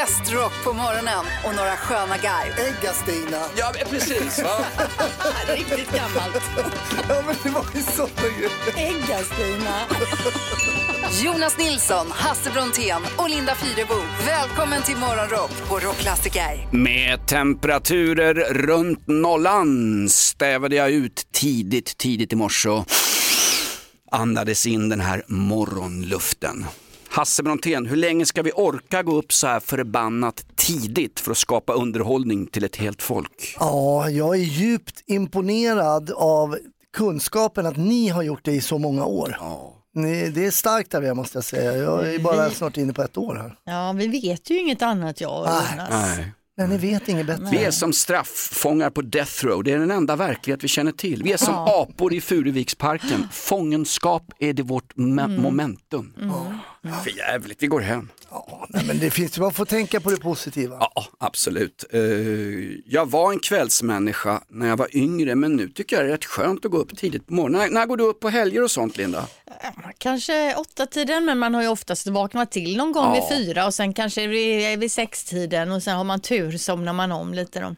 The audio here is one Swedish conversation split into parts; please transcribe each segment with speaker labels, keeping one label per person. Speaker 1: Mest rock på morgonen och några sköna garv.
Speaker 2: Äggastina.
Speaker 3: Ja, men precis. Va?
Speaker 1: Riktigt gammalt.
Speaker 2: Ja, men det var ju sådana grejer.
Speaker 1: Äggastina. Jonas Nilsson, Hasse Brontén och Linda Fyrebo. Välkommen till Morgonrock på Rockklassiker.
Speaker 4: Med temperaturer runt nollan stävade jag ut tidigt, tidigt i morse och andades in den här morgonluften. Hasse Brontén, hur länge ska vi orka gå upp så här förbannat tidigt för att skapa underhållning till ett helt folk?
Speaker 2: Ja, jag är djupt imponerad av kunskapen att ni har gjort det i så många år. Ni- Det är starkt av er måste jag säga. Jag är bara snart inne på ett år här.
Speaker 5: Ja, vi vet ju inget annat jag och
Speaker 2: Nej.
Speaker 5: Jonas.
Speaker 4: Nej.
Speaker 2: Men ni vet inget bättre.
Speaker 4: Vi är som strafffångar på death row, det är den enda verklighet vi känner till. Vi är som apor i Furuviksparken, fångenskap är det vårt me- momentum. För jävligt, vi går hem.
Speaker 2: Ja, nej, men det finns, man får tänka på det positiva.
Speaker 4: Ja, absolut. Eh, jag var en kvällsmänniska när jag var yngre men nu tycker jag det är rätt skönt att gå upp tidigt på morgonen. När, när går du upp på helger och sånt Linda?
Speaker 5: Kanske åtta tiden men man har ju oftast vaknat till någon gång vid fyra och sen kanske vid, vid sextiden och sen har man tur somnar man om lite då.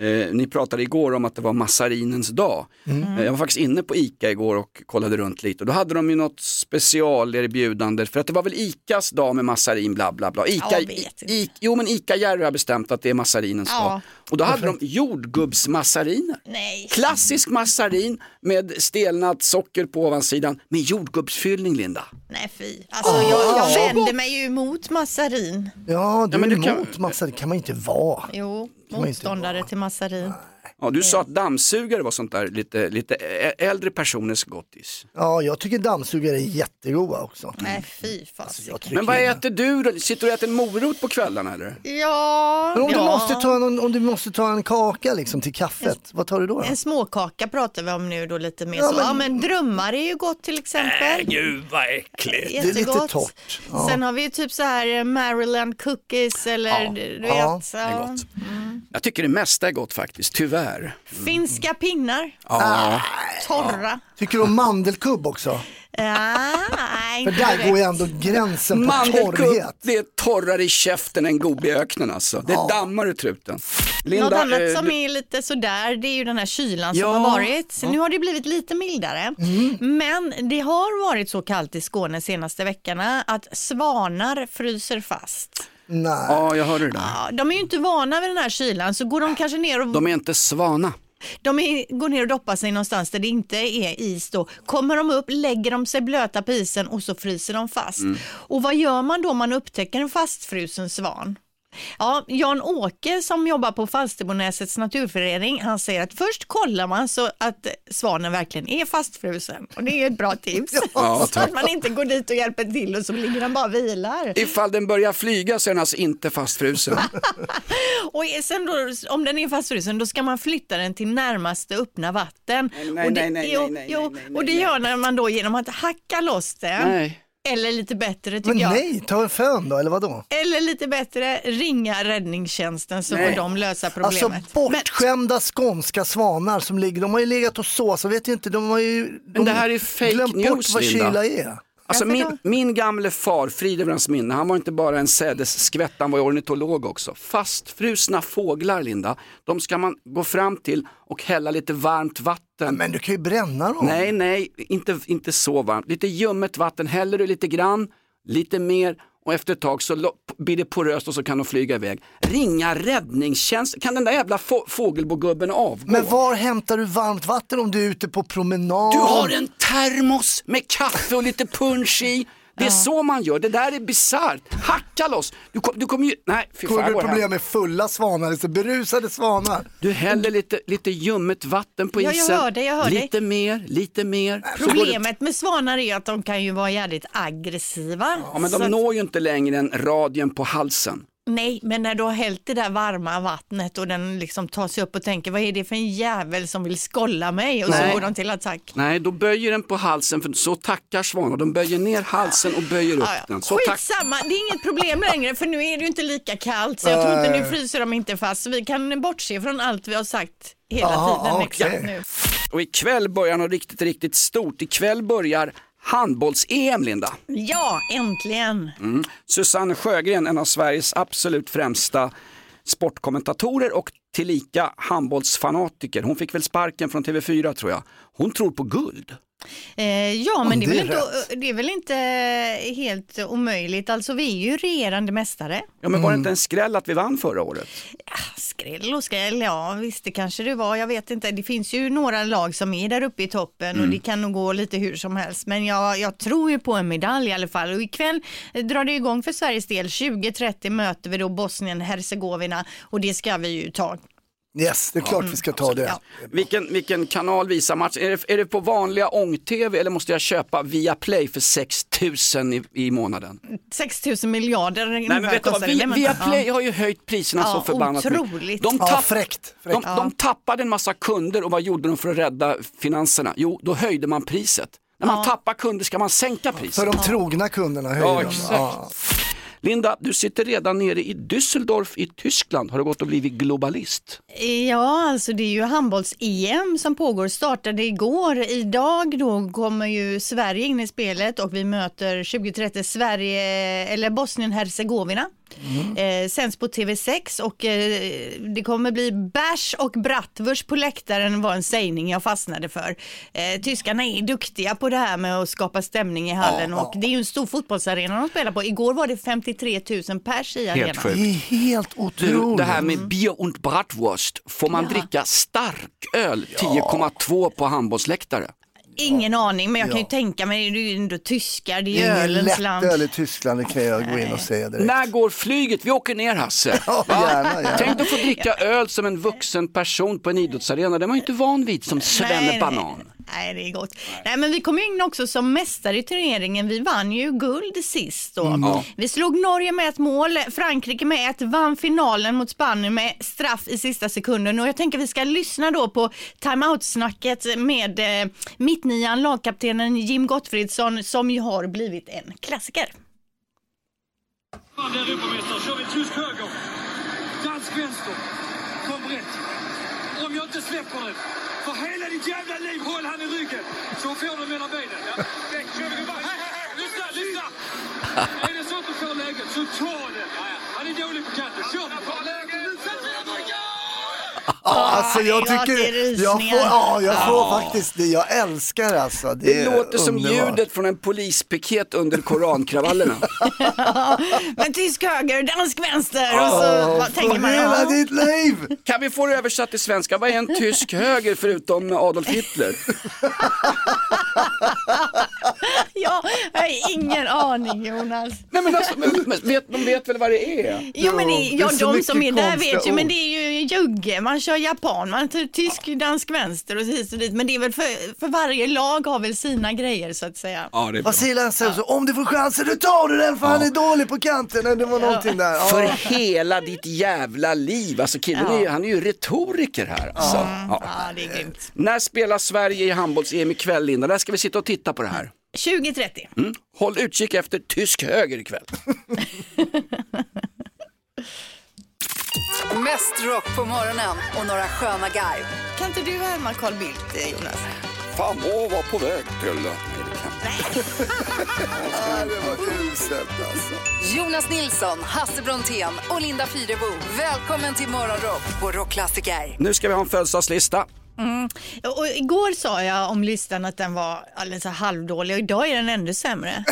Speaker 4: Eh, ni pratade igår om att det var massarinens dag.
Speaker 5: Mm.
Speaker 4: Eh, jag var faktiskt inne på ICA igår och kollade runt lite och då hade de ju något specialerbjudande för att det var väl ICAs dag med massarin bla bla bla. ICA,
Speaker 5: Jag vet inte.
Speaker 4: I, jo men ICA-Jerry har bestämt att det är massarinens
Speaker 5: Ja.
Speaker 4: dag. Och då hade de jordgubbsmassariner.
Speaker 5: Nej.
Speaker 4: Klassisk massarin med stelnat socker på ovansidan med jordgubbsfyllning Linda.
Speaker 5: Nej fy. Alltså
Speaker 2: Ah.
Speaker 5: jag, jag vänder mig ju emot massarin.
Speaker 2: Ja, du
Speaker 4: Ja, men
Speaker 2: är
Speaker 4: du kan-
Speaker 2: emot massa, det kan man inte vara.
Speaker 5: Jo,
Speaker 2: man inte
Speaker 5: motståndare till massarin.
Speaker 4: Ja, du sa att dammsugare var sånt där lite, lite ä- äldre personers gottis.
Speaker 2: Ja, jag tycker dammsugare är jättegoda också.
Speaker 5: Nej fy fasiken.
Speaker 2: Alltså, Jag trycker
Speaker 4: Men vad
Speaker 2: in.
Speaker 4: äter du då? Sitter du och äter en morot på kvällarna eller?
Speaker 5: Ja,
Speaker 2: Men om, du
Speaker 5: ja.
Speaker 2: måste ta en, om du måste ta en kaka liksom till kaffet, vad tar du då? då?
Speaker 5: En småkaka pratar vi om nu då lite mer
Speaker 2: Ja,
Speaker 5: så.
Speaker 2: men-
Speaker 5: Ja men drömmar är ju gott till exempel.
Speaker 4: Gud vad äckligt.
Speaker 2: är lite
Speaker 5: Jättegott.
Speaker 2: torrt. Ja.
Speaker 5: Sen har vi ju typ så här eh, Maryland cookies eller
Speaker 4: Ja.
Speaker 5: du vet.
Speaker 2: Ja,
Speaker 5: så.
Speaker 4: Det är gott. Jag tycker det mesta är gott faktiskt, tyvärr. Ah,
Speaker 5: Finska pinnar,
Speaker 4: Ja.
Speaker 5: torra.
Speaker 2: Tycker du om mandelkubb också?
Speaker 5: Ah,
Speaker 2: För
Speaker 5: inte
Speaker 2: där går
Speaker 5: direkt.
Speaker 2: ju ändå gränsen på
Speaker 4: Mandelkubb,
Speaker 2: torrhet.
Speaker 4: det är torrare i käften än gobi i öknen alltså. Det dammar ur truten.
Speaker 5: Något annat
Speaker 4: eh,
Speaker 5: som
Speaker 4: du-
Speaker 5: är lite sådär det är ju den här kylan
Speaker 4: Ja. Mm.
Speaker 5: som har varit. Så Nu har det blivit lite mildare. Men det har varit så kallt i Skåne senaste veckorna att svanar fryser fast.
Speaker 2: Nej.
Speaker 4: Ja, jag hörde det där.
Speaker 5: Ja, de är ju inte vana vid den här kylan så går de kanske ner och
Speaker 4: De är inte svana.
Speaker 5: De är, går ner och doppar sig någonstans där det inte är is då. Kommer de upp, lägger de sig blöta på isen och så fryser de fast. Och vad gör man då om man upptäcker en fastfrusen svan? Ja, Jan-Åke som jobbar på Falsterbonäsets naturförening, han säger att först kollar man så att svanen verkligen är fastfrusen. Och det är ju ett bra tips.
Speaker 4: Ja,
Speaker 5: så att man inte går dit och hjälper till och så ligger den bara och vilar.
Speaker 4: Ifall den börjar flyga så är den alltså inte fastfrusen.
Speaker 5: Och är- sen då, om den är fastfrusen då ska man flytta den till närmaste öppna vatten.
Speaker 4: nej,
Speaker 5: och det,
Speaker 4: nej, nej,
Speaker 5: jo,
Speaker 4: nej, nej,
Speaker 5: jo,
Speaker 4: nej, nej,
Speaker 5: Och det
Speaker 4: nej.
Speaker 5: gör man då genom att hacka loss den.
Speaker 4: Nej.
Speaker 5: Eller lite bättre tycker
Speaker 2: Men
Speaker 5: jag.
Speaker 2: nej, ta en fön då, eller vadå?
Speaker 5: Eller lite bättre, ringa räddningstjänsten så
Speaker 4: Nej.
Speaker 5: får de lösa problemet.
Speaker 2: Alltså bortskämda skånska svanar som ligger, de har ju legat och så, så vet ju inte, de har ju de
Speaker 4: det här är fake
Speaker 2: glömt bort
Speaker 4: news,
Speaker 2: vad
Speaker 4: Linda.
Speaker 2: kyla är.
Speaker 4: Alltså
Speaker 5: Varför
Speaker 4: min, min gamle far, frid över hans minne, han var inte bara en sädesskvätt, han var ju ornitolog också. Fastfrusna fåglar, Linda, de ska man gå fram till och hälla lite varmt vatten.
Speaker 2: Men du kan ju bränna dem.
Speaker 4: Nej, nej, inte, inte så varmt. Lite ljummet vatten, häller du lite grann, lite mer och efter ett tag så lo- blir det poröst och så kan de flyga iväg. Ringa räddningstjänst, kan den där jävla få, fågelbogubben avgå?
Speaker 2: Men var hämtar du varmt vatten om du är ute på promenad?
Speaker 4: Du har en termos med kaffe och lite punsch i. Det är så man gör, det där är bisarrt. Hacka loss. Du, kom, du kommer ju... Nej, fy fan.
Speaker 2: Kommer
Speaker 4: jag
Speaker 2: du
Speaker 4: går
Speaker 2: problem
Speaker 4: hem.
Speaker 2: med fulla svanar, liksom berusade svanar?
Speaker 4: Du häller lite, lite ljummet vatten på
Speaker 5: Ja, jag
Speaker 4: isen.
Speaker 5: hör dig, jag hör dig.
Speaker 4: lite mer, lite mer. Så går det-
Speaker 5: Problemet med svanar är att de kan ju vara jävligt aggressiva.
Speaker 4: Ja, men
Speaker 5: Så
Speaker 4: de
Speaker 5: att-
Speaker 4: når ju inte längre än radien på halsen.
Speaker 5: Nej, men när du har hällt det där varma vattnet och den liksom tar sig upp och tänker vad är det för en jävel som vill skolla mig och
Speaker 4: Nej.
Speaker 5: så går de till attack.
Speaker 4: Nej, då böjer den på halsen, för så tackar svanar. De böjer ner halsen och böjer upp
Speaker 5: Ah, Ja, ja.
Speaker 4: den. Så tack...
Speaker 5: Skitsamma, det är inget problem längre för nu är det ju inte lika kallt så jag tror inte nu fryser de inte fast så vi kan bortse från allt vi har sagt hela
Speaker 2: Ja,
Speaker 5: tiden
Speaker 2: okej.
Speaker 5: exakt nu.
Speaker 4: Och ikväll börjar något riktigt, riktigt stort. Ikväll börjar handbolls-EM, Linda.
Speaker 5: Ja, äntligen.
Speaker 4: Mm. Susanne Sjögren, en av Sveriges absolut främsta sportkommentatorer och tillika handbollsfanatiker. Hon fick väl sparken från TV4 tror jag. Hon tror på guld.
Speaker 5: Eh, ja, men det är,
Speaker 2: det
Speaker 5: väl
Speaker 2: är
Speaker 5: inte, det är väl inte helt omöjligt. Alltså, vi är ju regerande mästare.
Speaker 4: Ja, men var det inte en skräll att vi vann förra året?
Speaker 5: Ah, Skräll och skräll, ja visst det kanske det var, jag vet inte. Det finns ju några lag som är där uppe i toppen
Speaker 4: Mm.
Speaker 5: och det kan nog gå lite hur som helst. Men jag, jag tror ju på en medalj i alla fall. Och ikväll eh, drar det igång för Sveriges del. 20.30 möter vi då Bosnien-Hercegovina och det ska vi ju ta.
Speaker 2: Yes, det är klart vi ska ta det.
Speaker 5: Ja.
Speaker 4: Vilken, vilken kanal visar matchen? Är det, är det på vanliga ång-tv eller måste jag köpa via Play för 6 000 i, i månaden?
Speaker 5: 6 000 miljarder
Speaker 4: Nej, men vet du, vad?
Speaker 5: kostar det,
Speaker 4: via,
Speaker 5: men-
Speaker 4: via
Speaker 5: ja.
Speaker 4: Play har ju höjt priserna
Speaker 5: Ja,
Speaker 4: så förbannat
Speaker 5: otroligt.
Speaker 4: De,
Speaker 2: Ja,
Speaker 4: tapp,
Speaker 2: fräckt,
Speaker 4: de,
Speaker 2: fräckt.
Speaker 4: de tappade en massa kunder och vad gjorde de för att rädda finanserna? Jo, då höjde man priset. När man tappar kunder ska man sänka priset.
Speaker 2: För de trogna kunderna höjer
Speaker 4: Ja,
Speaker 2: de.
Speaker 4: exakt.
Speaker 2: Ja.
Speaker 4: Linda, du sitter redan nere i Düsseldorf i Tyskland. Har du gått och blivit globalist?
Speaker 5: Ja, alltså det är ju handbolls-EM som pågår, startade igår. Idag då kommer ju Sverige in i spelet och vi möter 2030 Sverige, eller Bosnien-Hercegovina. Eh, sänds på TV6 och eh, det kommer bli bärs och bratwurst på läktaren var en sägning jag fastnade för. Eh, tyskarna är duktiga på det här med att skapa stämning i hallen och det är ju en stor fotbollsarena de spelar på. Igår var det 53 000 pers i arenan.
Speaker 4: sjukt.
Speaker 2: Det är helt
Speaker 4: Du,
Speaker 2: otroligt.
Speaker 4: det här med Bier und Bratwurst, får man dricka starköl 10,2 på handbollsläktare?
Speaker 5: Ingen aning, men jag kan ju tänka mig, det är ju ändå tyskar, det är ju
Speaker 2: Ingen
Speaker 5: ölens land.
Speaker 2: lättöl i Tyskland, det kan jag gå in och säga direkt.
Speaker 4: När går flyget? Vi åker ner Hasse.
Speaker 2: Ja, gärna, gärna.
Speaker 4: Tänk att få dricka öl som en vuxen person på en idrottsarena. Det var man ju inte van vid som Svenne Banan.
Speaker 5: Nej, det är gott. Nej, men vi kom ju in också som mästare i turneringen. Vi vann ju guld sist då.
Speaker 2: Mm,
Speaker 5: Vi slog Norge med ett mål, Frankrike med ett, vann finalen mot Spanien med straff i sista sekunden. Och jag tänker vi ska lyssna då på timeout-snacket med eh, mittnian, lagkaptenen Jim Gottfridsson, som ju har blivit en klassiker.
Speaker 3: Vann vi Europamästare kör vi tysk höger, dansk vänster, kom brett. Om jag inte släpper den, för hela ditt jävla liv håll han i ryggen så får du mellan benen. Ja. Väck, kör vi gubbar. Hej, hej, hej, Lyssna, lyssna! Är det så att du får läget så ta den. Han är dålig på kanten, kör!
Speaker 2: Alltså jag
Speaker 5: jag ser
Speaker 2: tycker, jag
Speaker 5: rysningar.
Speaker 2: får, ja, jag får faktiskt det, jag älskar alltså. Det,
Speaker 4: Det
Speaker 2: är
Speaker 4: låter som
Speaker 2: underbart.
Speaker 4: ljudet från en polispiket under korankravallerna.
Speaker 5: Men tysk höger, dansk vänster och så vad tänker
Speaker 2: Från
Speaker 5: man
Speaker 2: hela
Speaker 5: ja.
Speaker 2: ditt liv!
Speaker 4: Kan vi få det översatt till svenska? Vad är en tysk höger förutom Adolf Hitler?
Speaker 5: Ja, jag har ingen aning Jonas.
Speaker 4: Nej men alltså, men, men, vet, de vet väl vad det är?
Speaker 5: Jo men det,
Speaker 2: Ja,
Speaker 5: ja,
Speaker 2: det är så
Speaker 5: de
Speaker 2: mycket
Speaker 5: som är där
Speaker 2: konstiga
Speaker 5: vet ju, men
Speaker 2: ord.
Speaker 5: det är ju jugge, man kör japan, man tar tysk, dansk, vänster och hit och dit. Men det är väl för, för varje lag har väl sina grejer så att säga.
Speaker 4: Ja, det är
Speaker 2: Vad säger Lasse så om du får chansen då tar du den för han är dålig på kanten. Nej, Det var någonting där. Ja.
Speaker 4: För hela ditt jävla liv. Alltså killen är, ju- han är ju retoriker här. Alltså. Ja.
Speaker 5: Mm, Ja, det är grymt.
Speaker 4: När spelar Sverige i handbolls-EM ikväll Linda? Där ska vi sitta och titta på det här.
Speaker 5: 2030.
Speaker 4: Mm. Håll utkik efter tysk höger ikväll.
Speaker 1: Mest rock på morgonen och några sköna guide.
Speaker 5: Kan inte du härma Carl Bildt eh, Jonas?
Speaker 4: Fan må vara på väg till... Nej, det kan-
Speaker 2: Nej, det var uselt alltså.
Speaker 1: Jonas Nilsson, Hasse Brontén och Linda Fyrebo. Välkommen till Morgonrock på Rockklassiker.
Speaker 4: Nu ska vi ha en födelsedagslista.
Speaker 5: Och igår sa jag om listan att den var alldeles så halvdålig och idag är den ännu sämre.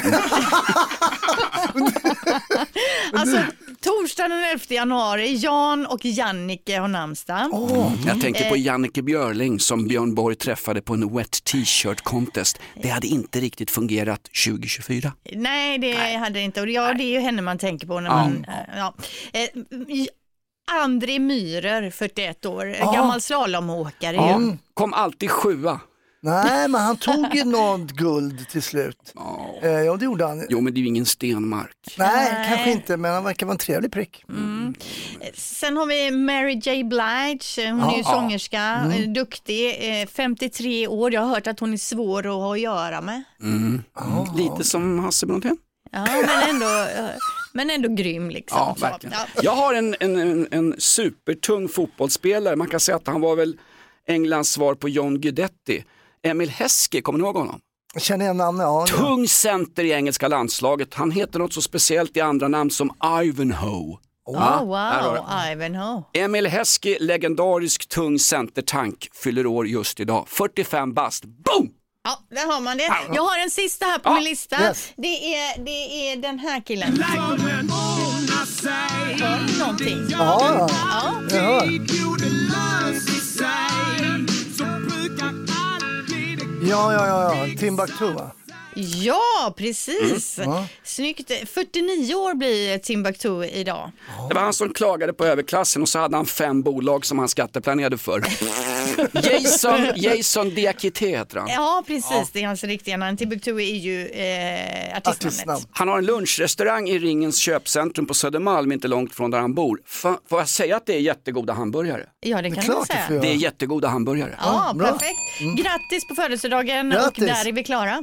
Speaker 5: alltså torsdagen den 11 januari, Jan och Jannike har namnsdag.
Speaker 4: Jag tänker på Jannike Björling som Björn Borg träffade på en wet t-shirt contest. Det hade inte riktigt fungerat 2024.
Speaker 5: Nej, det hade det inte. Och ja, det är ju henne man tänker på när man... Ja. Eh, J- André Myhrer, 41 år, gammal slalomåkare. ju.
Speaker 4: Kom alltid sjua.
Speaker 2: Nej, men han tog ju något guld till slut. Eh, ja, det gjorde han.
Speaker 4: Jo men det är ju ingen Stenmark.
Speaker 2: Nej, kanske inte, men han verkar vara en trevlig prick.
Speaker 5: Sen har vi Mary J Blige, hon är ju sångerska, eh, duktig, eh, 53 år. Jag har hört att hon är svår att ha att göra med.
Speaker 4: Lite som Hasse Brontén.
Speaker 5: Ja, men ändå, eh, men ändå grym liksom.
Speaker 4: Ja,
Speaker 5: Så,
Speaker 4: verkligen.
Speaker 5: ja.
Speaker 4: Jag har en, en, en, en supertung fotbollsspelare. Man kan säga att han var väl Englands svar på John Guidetti. Emil Heskey, kommer ni ihåg honom?
Speaker 2: Känner jag namnet? Ja, ja.
Speaker 4: Tung center i engelska landslaget. Han heter något så speciellt i andra namn som Ivanhoe.
Speaker 5: Oh,
Speaker 4: där har
Speaker 5: wow, Ivanhoe.
Speaker 4: Emil Heskey, legendarisk tung centertank, fyller år just idag. 45 bast. Boom!
Speaker 5: Ja, där har man det. Jag har en sista här på min lista.
Speaker 2: Yes.
Speaker 5: Det, är, det är den här killen. Hör någonting.
Speaker 2: Ja,
Speaker 5: Ja.
Speaker 2: jag hör. Ja, ja, ja, ja. Timbuktu va?
Speaker 5: ja, precis.
Speaker 2: Ja.
Speaker 5: Snyggt. 49 år blir Timbuktu idag.
Speaker 4: Det var han som klagade på överklassen och så hade han fem bolag som han skatteplanerade för. Jason, Jason Diakité heter han.
Speaker 5: Ja, precis. Det är hans riktiga namn. Timbuktu är ju eh, artistnamnet.
Speaker 2: Artistnamn.
Speaker 4: Han har en lunchrestaurang i Ringens köpcentrum på Södermalm, inte långt från där han bor. Fa- får jag säga att det är jättegoda hamburgare?
Speaker 5: Ja, det kan
Speaker 2: Klart
Speaker 5: man
Speaker 2: du får
Speaker 5: säga.
Speaker 2: göra.
Speaker 4: Det är jättegoda hamburgare.
Speaker 5: Ja,
Speaker 2: bra.
Speaker 5: perfekt. Grattis på födelsedagen
Speaker 2: Grattis.
Speaker 5: och där är vi klara.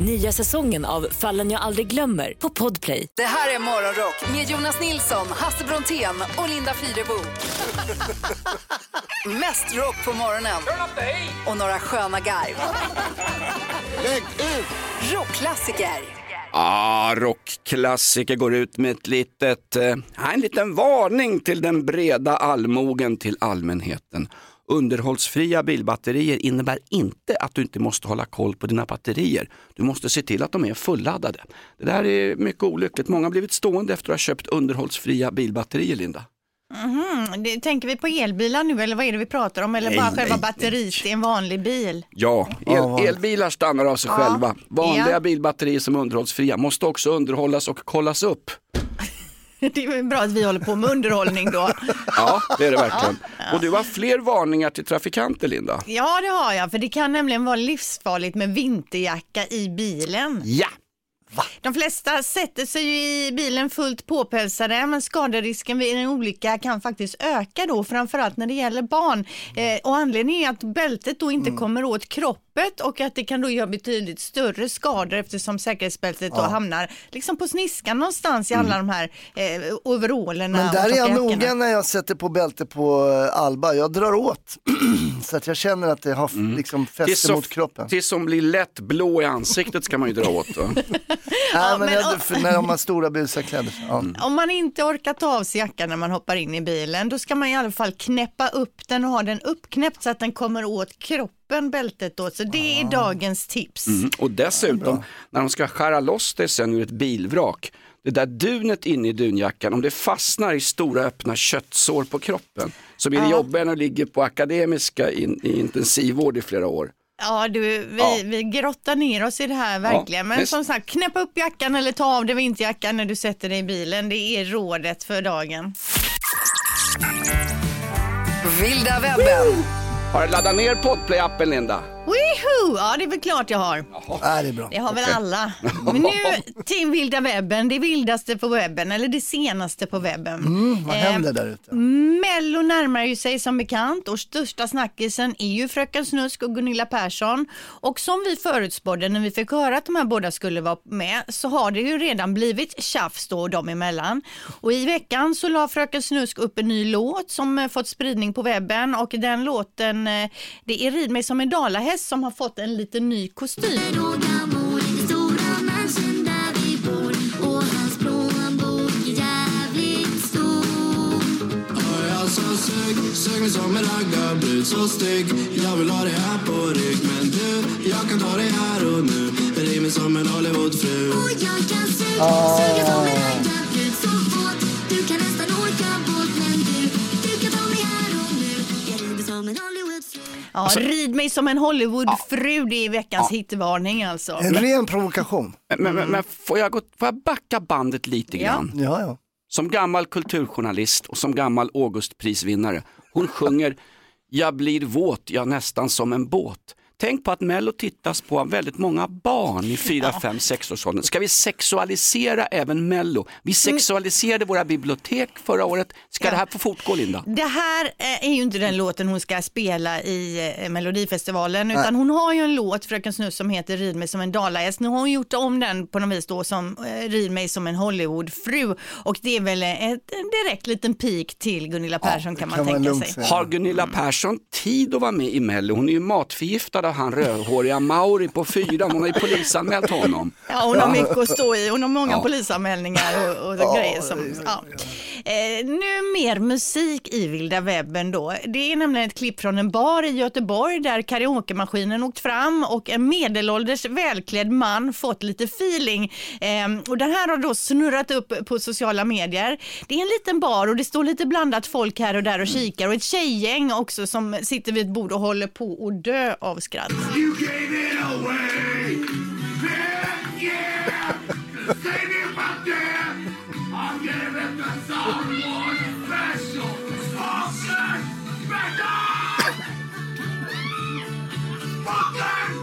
Speaker 6: Nya säsongen av Fallen jag aldrig glömmer på Podplay.
Speaker 1: Det här är Morgonrock med Jonas Nilsson, Hasse Brontén och Linda Fyrebo. Mest rock på morgonen och några sköna garv. Rockklassiker.
Speaker 4: Ah, rockklassiker går ut med ett litet, eh, en liten varning till den breda allmogen till allmänheten. Underhållsfria bilbatterier innebär inte att du inte måste hålla koll på dina batterier. Du måste se till att de är fulladdade. Det där är mycket olyckligt. Många har blivit stående efter att ha köpt underhållsfria bilbatterier, Linda.
Speaker 5: Mm, Det, tänker vi på elbilar nu eller vad är det vi pratar om? Eller
Speaker 4: Nej,
Speaker 5: bara
Speaker 4: nej,
Speaker 5: själva
Speaker 4: nej.
Speaker 5: batteriet i en vanlig bil?
Speaker 4: Ja, el,
Speaker 2: vanligt.
Speaker 4: elbilar stannar av sig själva. Vanliga
Speaker 5: Ja.
Speaker 4: bilbatterier som är underhållsfria måste också underhållas och kollas upp.
Speaker 5: Det är väl bra att vi håller på med underhållning då.
Speaker 4: Ja, det är det verkligen. Och du har fler varningar till trafikanter, Linda.
Speaker 5: Ja, det har jag, för det kan nämligen vara livsfarligt med vinterjacka i bilen.
Speaker 4: Ja,
Speaker 5: De flesta sätter sig ju i bilen fullt påpälsade, men skaderisken vid en olycka kan faktiskt öka då, framförallt när det gäller barn. Eh, och anledningen är att bältet då
Speaker 2: Mm.
Speaker 5: inte kommer åt kroppet och att det kan då göra betydligt större skador eftersom säkerhetsbältet då hamnar liksom på sniskan någonstans i alla de här eh, overallerna.
Speaker 2: Mm. Men
Speaker 5: och
Speaker 2: där är jag
Speaker 5: tjocka jackorna.
Speaker 2: noga när jag sätter på bälte på eh, Alba. Jag drar åt så att jag känner att det har f- liksom
Speaker 4: tills
Speaker 2: fäste
Speaker 4: som,
Speaker 2: mot kroppen.
Speaker 4: tills som blir lätt blå i ansiktet ska man ju dra åt. Va?
Speaker 2: Nej, men
Speaker 5: men-
Speaker 2: jag, för, när de har stora busiga kläder. Ja.
Speaker 5: Om man inte orkar ta av sig jackan när man hoppar in i bilen, då ska man i alla fall knäppa upp den och ha den uppknäppt så att den kommer åt kroppen, bältet då. Så det är dagens tips.
Speaker 4: Ah. Mm. Och dessutom, när de ska skära loss det sen ur ett bilvrak, det där dunet inne i dunjackan, om det fastnar i stora öppna köttsår på kroppen så blir det jobbigare när du ligger på akademiska in, i intensivvård i flera år.
Speaker 5: Ja, du, vi,
Speaker 4: Ja.
Speaker 5: vi grottar ner oss i det här verkligen. Men
Speaker 4: visst.
Speaker 5: som sagt, knäppa upp jackan eller ta av dig vinterjackan när du sätter dig i bilen. Det är rådet för dagen.
Speaker 1: Vilda webben.
Speaker 4: Har du laddat ner Podplay-appen Linda?
Speaker 5: Woohoo! Ja, det är väl klart jag har.
Speaker 2: Nej, det är bra.
Speaker 5: Det har väl alla. Men nu till vilda webben, det vildaste på webben, eller det senaste på webben.
Speaker 2: Mm,
Speaker 4: Mm,
Speaker 5: Eh,
Speaker 2: Vad händer där ute?
Speaker 5: Mello närmar ju sig som bekant och största snackisen är ju Fröken Snusk och Gunilla Persson. Och som vi förutspådde när vi fick höra att de här båda skulle vara med så har det ju redan blivit tjafs då dem emellan. Och i veckan så la Fröken Snusk upp en ny låt som eh, fått spridning på webben och den låten, eh, det är Rid mig som en dalahäst som har fått en liten ny kostym.
Speaker 7: Jag sa sug, sug mig som en raggarbrud så stygg Jag vill ha det här på rygg Men du, jag kan ta det här och nu Ring mig som en Hollywoodfru
Speaker 5: Ja, Rid mig som en Hollywoodfru, det är veckans hitvarning alltså.
Speaker 2: En ren provokation.
Speaker 4: Men, men, men- men får, jag gå, får jag backa bandet lite
Speaker 5: Ja.
Speaker 4: grann?
Speaker 2: Ja, ja.
Speaker 4: Som gammal kulturjournalist och som gammal Augustprisvinnare. Hon sjunger Jag blir våt, jag nästan som en båt. tänk på att Mello tittas på av väldigt många barn i 4, 5, 6 års åldern. Ska vi sexualisera även Mello? Vi sexualiserade våra bibliotek förra året. Ska det här få fortgå Linda?
Speaker 5: Det här eh, är ju inte den låten hon ska spela i eh, Melodifestivalen utan hon har ju en låt, Fröken Snus, som heter Rid mig som en dalahäst. Nu har hon gjort om den på något vis då som eh, Rid mig som en Hollywoodfru och det är väl eh, ett, en direkt liten pik till Gunilla Persson kan man
Speaker 2: kan man
Speaker 5: tänka
Speaker 2: lugnt
Speaker 5: sig.
Speaker 2: säga.
Speaker 4: Har Gunilla Persson tid att vara med i Mello? Hon är ju matförgiftad av han rödhåriga Mauri på fyran. Hon har ju polisanmält honom.
Speaker 5: Ja, hon har mycket att stå i. Hon har många polisanmälningar och, och grejer. Som, ja. eh, nu mer musik i vilda webben då. Det är nämligen ett klipp från en bar i Göteborg där karaokemaskinen åkt fram och en medelålders välklädd man fått lite feeling. Eh, och den här har då snurrat upp på sociala medier. Det är en liten bar och det står lite blandat folk här och där och kikar och ett tjejgäng också som sitter vid ett bord och håller på att dö av skratt.
Speaker 3: You gave it away. Man, yeah. Save it right there. I'll give it to someone special. Fucking metal. Fucking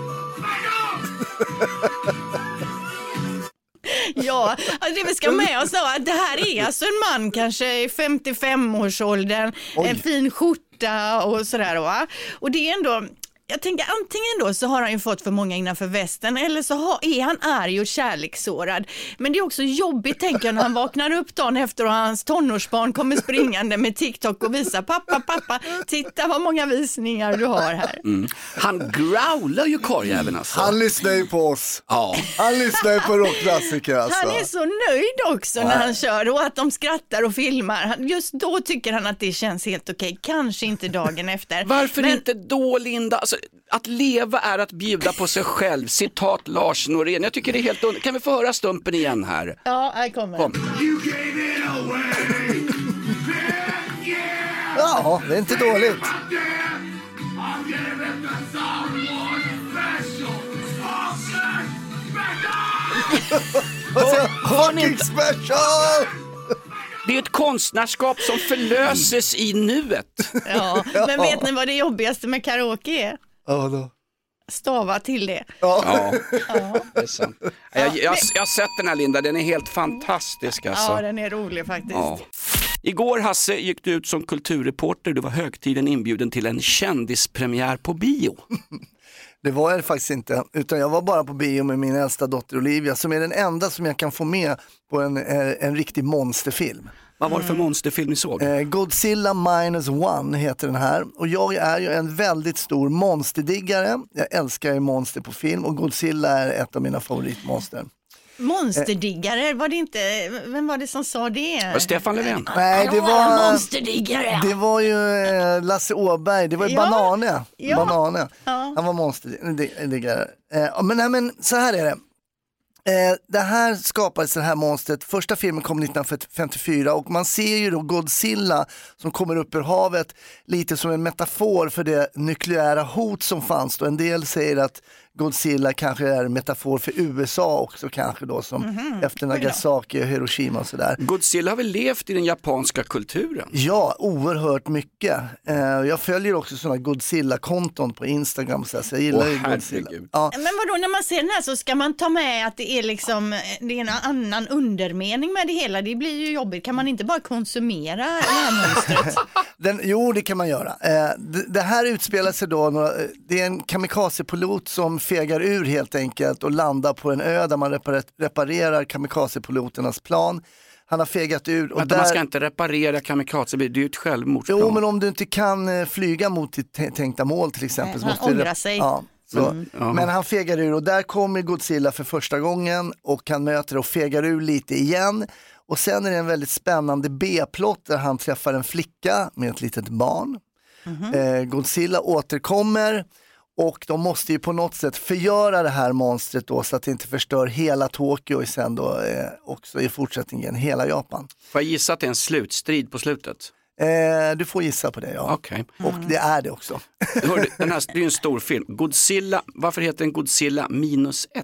Speaker 3: metal.
Speaker 5: Ja, alltså det vi ska med oss då, att det här är alltså en man kanske i 55-årsåldern, en fin skjorta och sådär. Va? Och det är ändå jag tänker antingen då så har han ju fått för många innanför västen eller så har, är han arg och kärlekssårad. Men det är också jobbigt tänker jag när han vaknar upp dagen efter och hans tonårsbarn kommer springande med TikTok och visar pappa, pappa, titta vad många visningar du har här.
Speaker 4: Han growlar ju korgjäveln alltså.
Speaker 2: Han lyssnar ju på oss.
Speaker 4: Ja.
Speaker 2: Han lyssnar ju på rockklassiker alltså.
Speaker 5: Han är så nöjd också när han kör och att de skrattar och filmar. Han- Just då tycker han att det känns helt okej. Kanske inte dagen efter.
Speaker 4: Varför
Speaker 5: Men-
Speaker 4: inte då Linda? Alltså, att leva är att bjuda på sig själv, citat Lars Norén. Jag tycker det är helt underbart. Kan vi få höra stumpen igen här?
Speaker 5: Ja, här kommer
Speaker 4: Kom.
Speaker 3: You gave it away. Man, yeah.
Speaker 2: Ja, det är inte dåligt.
Speaker 3: Right there. I'll give it to someone special. Fucking metal.
Speaker 2: Fucking special!
Speaker 4: Det är ett konstnärskap som förlöses i nuet.
Speaker 5: Ja, men vet ni vad det jobbigaste med karaoke är?
Speaker 2: Ja, då.
Speaker 5: Stava till det.
Speaker 4: Ja, det är sant. Jag, jag, jag har sett den här Linda, den är helt fantastisk alltså.
Speaker 5: Ja, den är rolig faktiskt.
Speaker 4: Ja. Igår Hasse gick du ut som kulturreporter, du var högtiden inbjuden till en kändispremiär på bio.
Speaker 2: Det var jag faktiskt inte, utan jag var bara på bio med min äldsta dotter Olivia som är den enda som jag kan få med på en, eh, en riktig monsterfilm.
Speaker 4: Vad var det för
Speaker 5: Mm.
Speaker 4: monsterfilm ni såg?
Speaker 2: Eh, Godzilla minus one heter den här och jag är ju en väldigt stor monsterdiggare. Jag älskar ju monster på film och Godzilla är ett av mina favoritmonster.
Speaker 5: Monsterdiggare, var det inte, vem var det som sa det?
Speaker 4: Stefan Löfven.
Speaker 2: Nej, det var,
Speaker 6: Monsterdiggare!
Speaker 2: det var ju eh, Lasse Åberg, det var ju
Speaker 5: Ja.
Speaker 2: Banane.
Speaker 5: Ja.
Speaker 2: Banane.
Speaker 5: Ja.
Speaker 2: Han var monsterdiggare. Eh, men, nej, men så här är det. Eh, det här skapades, det här monstret, första filmen kom 1954 och man ser ju då Godzilla som kommer upp ur havet lite som en metafor för det nukleära hot som fanns då. En del säger att Godzilla kanske är en metafor för USA också kanske då som
Speaker 5: Mhm.
Speaker 2: efter Nagasaki och Hiroshima och sådär.
Speaker 4: Godzilla har väl levt i den japanska kulturen?
Speaker 2: Ja, oerhört mycket. Eh, jag följer också sådana Godzilla-konton på Instagram så, här, så jag gillar
Speaker 4: Åh,
Speaker 2: ju Godzilla.
Speaker 4: herregud.
Speaker 2: Ja,
Speaker 5: Men vadå, när man ser den här så ska man ta med att det är liksom, det är en annan undermening med det hela. Det blir ju jobbigt. Kan man inte bara konsumera det här monstret?
Speaker 2: den, jo, det kan man göra. Eh, det, det här utspelar sig då, några, eh, det är en kamikazepilot som fegar ur helt enkelt och landar på en ö där man repar, reparerar kamikazepiloternas plan. Han har fegat ur. Och
Speaker 4: Att man
Speaker 2: där-
Speaker 4: ska inte reparera kamikaze, det är ju ett självmordsplan.
Speaker 2: Jo, men om du inte kan eh, flyga mot ditt tä- tänkta mål till exempel.
Speaker 5: Nej, han
Speaker 2: du rep-
Speaker 5: ångrar sig.
Speaker 2: Ja, så. Men han fegar ur och där kommer Godzilla för första gången och han möter och fegar ur lite igen. Och sen är det en väldigt spännande B-plott där han träffar en flicka med ett litet barn.
Speaker 5: Mhm.
Speaker 2: Eh, Godzilla återkommer och de måste ju på något sätt förgöra det här monstret då så att det inte förstör hela Tokyo och sen då eh, också i fortsättningen hela Japan.
Speaker 4: Får jag gissa att det är en slutstrid på slutet?
Speaker 2: Eh, du får gissa på det ja.
Speaker 4: Okej.
Speaker 5: Mm.
Speaker 2: Och det är det också.
Speaker 4: Hörru, den här, det är ju en stor film. Godzilla, varför heter den Godzilla minus ett?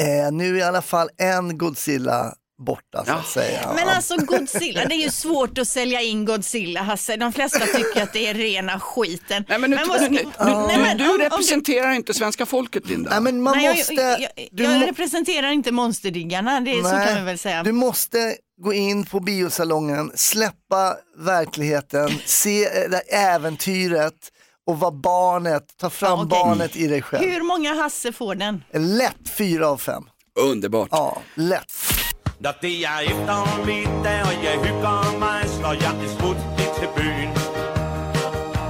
Speaker 2: Eh, nu är i alla fall en Godzilla borta så
Speaker 4: Ja.
Speaker 2: att säga.
Speaker 5: Men alltså Godzilla, det är ju svårt att sälja in Godzilla Hasse. De flesta tycker att det är rena skiten.
Speaker 4: Nej, men nu,
Speaker 5: vad ska-
Speaker 4: nu,
Speaker 5: Nej, men
Speaker 4: du,
Speaker 5: om-
Speaker 4: du
Speaker 5: om
Speaker 4: representerar inte svenska folket Linda.
Speaker 2: Nej, men man
Speaker 5: Nej, jag,
Speaker 2: måste...
Speaker 5: jag, jag,
Speaker 2: du
Speaker 5: jag
Speaker 2: må-
Speaker 5: representerar inte monsterdiggarna, det är, så
Speaker 2: Nej,
Speaker 5: kan vi väl säga.
Speaker 2: Du måste gå in på biosalongen, släppa verkligheten, se eh, det här äventyret och vara barnet, ta fram
Speaker 5: Ja, okej.
Speaker 2: barnet i dig själv.
Speaker 5: Hur många Hasse får den?
Speaker 2: Lätt fyra av fem.
Speaker 4: Underbart.
Speaker 2: Ja, lätt.
Speaker 8: Når det er efter middag, og jeg hygger mig, slår jeg et smut ind til byen.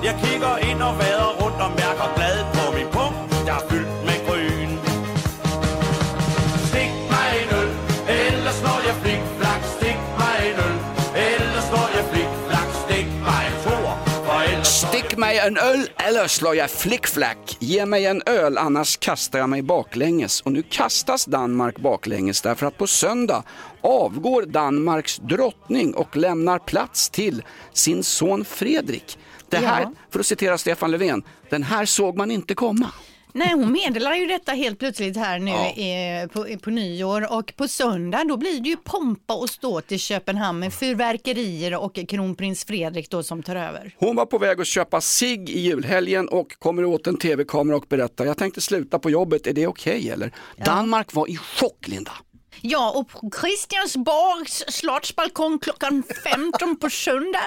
Speaker 8: Jeg kigger ind og vader rundt og mærker glad på min punkt, der er fyldt med grøn. Stik mig en øl, ellers slår jeg flikflak. Stik mig en øl, ellers slår jeg flikflak. Stik mig en tor, for ellers slår jeg
Speaker 4: Stick mig en öl eller slår jag flickflack. Ge mig en öl annars kastar jag mig baklänges. Och nu kastas Danmark baklänges därför att på söndag avgår Danmarks drottning och lämnar plats till sin son Fredrik. Det här, för att citera Stefan Löfven, den här såg man inte komma.
Speaker 5: Nej, hon meddelar ju detta helt plötsligt här nu
Speaker 4: Ja.
Speaker 5: eh, på, på nyår och på söndag då blir det ju pompa och ståt i Köpenhamn med fyrverkerier och kronprins Fredrik då som tar över.
Speaker 4: Hon var på väg att köpa sig i julhelgen och kommer åt en tv-kamera och berättar, jag tänkte sluta på jobbet, är det okej eller? Danmark var i chock Linda.
Speaker 5: Ja, och på Christiansborgs slottsbalkong klockan 15 på söndag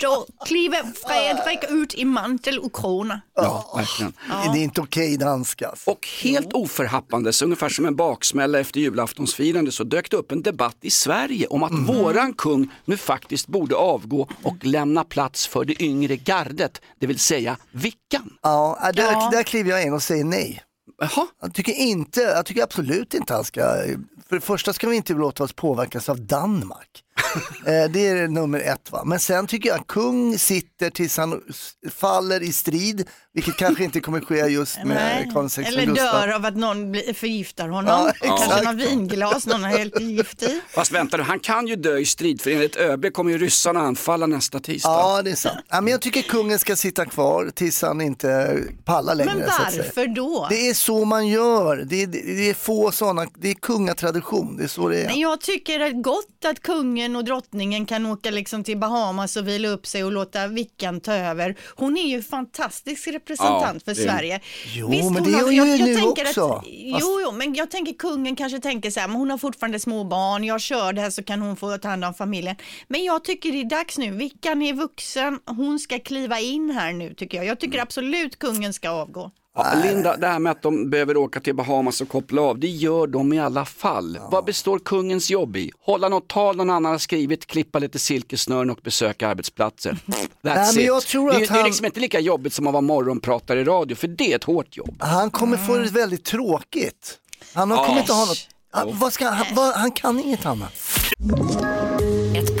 Speaker 5: då kliver Fredrik ut i mantel och krona.
Speaker 4: Ja, verkligen.
Speaker 2: Det är inte okej alltså. danskas.
Speaker 4: Och helt oförhappandes, ungefär som en baksmälla efter julaftonsfirande, så dök det upp en debatt i Sverige om att våran kung nu faktiskt borde avgå och lämna plats för det yngre gardet, det vill säga Vickan.
Speaker 2: Ja, äh, där, där kliver jag in och säger nej.
Speaker 4: Jaha,
Speaker 2: Jag tycker, inte, jag tycker absolut inte han ska... För det första ska vi inte låta oss påverkas av Danmark. Eh, det är nummer ett. Va? Men sen tycker jag att kung sitter tills han s- faller i strid, vilket kanske inte kommer ske just med Karl XVI
Speaker 5: Eller
Speaker 2: Gustaf.
Speaker 5: dör av att någon blir- förgiftar
Speaker 2: Ja,
Speaker 5: honom. Kanske
Speaker 2: exakt.
Speaker 5: något vinglas någon har hällt gift i.
Speaker 4: fast vänta nu, han kan ju dö i strid för enligt ÖB kommer ju ryssarna anfalla nästa tisdag.
Speaker 2: Ja, det är sant. Ja, men jag tycker kungen ska sitta kvar tills han inte pallar längre.
Speaker 5: Men
Speaker 2: så att säga.
Speaker 5: varför då?
Speaker 2: Det är så man gör. Det är, det det är få sådana, det är kungatradition, det är så det är.
Speaker 5: Men Jag tycker det är gott att kungen och drottningen kan åka liksom till Bahamas och vila upp sig och låta Vickan ta över. Hon är ju fantastisk representant
Speaker 4: Ja,
Speaker 5: för
Speaker 4: det är-
Speaker 5: Sverige.
Speaker 2: Jo, men det är
Speaker 5: har-
Speaker 2: hon ju nu
Speaker 5: tänker
Speaker 2: också.
Speaker 5: Att,
Speaker 2: Fast-
Speaker 5: jo, jo, men jag tänker kungen kanske tänker så här, men hon har fortfarande små barn, jag kör det här så kan hon få ta hand om familjen. Men jag tycker det är dags nu, Vickan är vuxen, hon ska kliva in här nu tycker jag. Jag
Speaker 2: Mm.
Speaker 5: tycker absolut kungen ska avgå.
Speaker 4: Ja, Linda, det här med att de behöver åka till Bahamas och koppla av, det gör de i alla fall. Vad består kungens jobb i? Hålla något tal någon annan har skrivit, klippa lite silkesnören och besöka arbetsplatser. That's
Speaker 2: men
Speaker 4: it.
Speaker 2: jag tror
Speaker 4: det, är-
Speaker 2: att
Speaker 4: det är
Speaker 2: han-
Speaker 4: liksom inte lika jobbigt som att vara morgonpratare i radio, för det är ett hårt jobb.
Speaker 2: Han kommer få det väldigt tråkigt. Han har, kommer inte ha något, han, vad ska, han, vad, han kan inget annat.
Speaker 6: Ett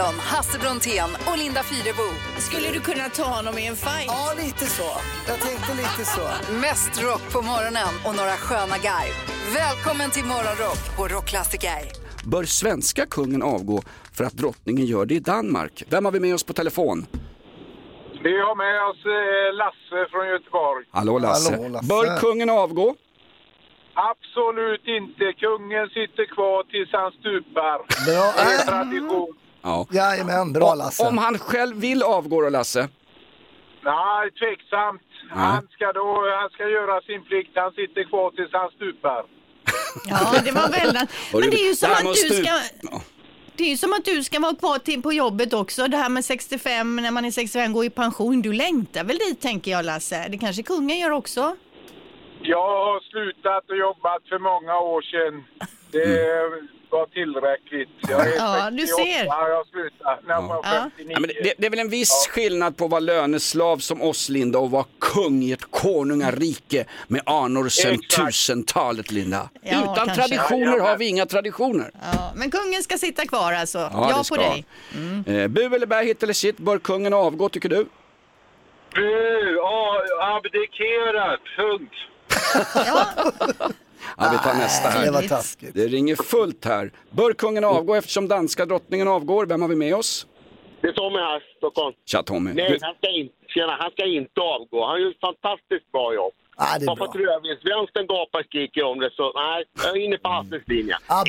Speaker 1: Hasse Brontén och Linda Fyrebo.
Speaker 5: Skulle du kunna ta honom i en fight?
Speaker 2: Ja, lite så. Jag tänkte lite så.
Speaker 1: Mest rock på morgonen och några sköna garv. Välkommen till Morgonrock på Rockklassiker.
Speaker 4: Bör svenska kungen avgå för att drottningen gör det i Danmark? Vem har vi med oss på telefon?
Speaker 8: Vi har med oss eh, Lasse från Göteborg.
Speaker 4: Hallå Lasse.
Speaker 2: Hallå, Lasse.
Speaker 4: Bör kungen avgå?
Speaker 8: Absolut inte. Kungen sitter kvar tills han stupar.
Speaker 2: Bra. Äh,
Speaker 8: Tradition.
Speaker 4: Ja.
Speaker 2: jajamän, bra Lasse.
Speaker 4: Om han själv vill avgå då Lasse?
Speaker 8: Nej, tveksamt. Han ska, då, han ska göra sin plikt. Han sitter kvar tills han stupar.
Speaker 5: Ja, det var väldigt... Men det är ju som
Speaker 4: här
Speaker 5: att
Speaker 4: måste
Speaker 5: du ska...
Speaker 4: Ja.
Speaker 5: Det är ju som att du ska vara kvar till på jobbet också. Det här med 65, när man är 65 går i pension. Du längtar väl dit tänker jag Lasse? Det kanske kungen gör också?
Speaker 8: Jag har slutat och jobbat för många år sedan. Det var tillräckligt. Jag är
Speaker 5: Ja, du
Speaker 8: 68.
Speaker 5: ser.
Speaker 8: Jag slutade när jag var
Speaker 5: Ja.
Speaker 8: 59.
Speaker 4: Ja, men det, det är väl en viss skillnad på att vara löneslav som oss Linda och vara kung i ett konungarike med anor sedan tusentalet, Linda.
Speaker 5: Ja,
Speaker 4: Utan
Speaker 5: kanske.
Speaker 4: traditioner har vi inga traditioner.
Speaker 5: Ja, men kungen ska sitta kvar alltså.
Speaker 4: Ja,
Speaker 5: Ja,
Speaker 4: det
Speaker 5: på
Speaker 4: ska.
Speaker 5: dig. Mm.
Speaker 4: Eh, bu eller bä, hit eller sitt, bör kungen avgå tycker du?
Speaker 9: Bu! a- Abdikera! Punkt.
Speaker 4: Ja, vi
Speaker 5: Ah,
Speaker 4: tar nästa här.
Speaker 9: det var
Speaker 2: taskigt.
Speaker 4: Det ringer fullt här. Bör kungen
Speaker 5: Mm.
Speaker 4: avgå eftersom danska drottningen avgår? Vem har vi med oss?
Speaker 10: Det är Tommy här, Stockholm.
Speaker 4: Tja Tommy.
Speaker 10: Nej,
Speaker 4: Du,
Speaker 10: han ska, in, tjena, han ska inte avgå. Han gör ett fantastiskt bra jobb.
Speaker 2: Ah, det är
Speaker 10: Varför tror jag visst? Vänstern gapar och skriker om det, så nej, jag är inne på Hasses linje.
Speaker 2: Ah,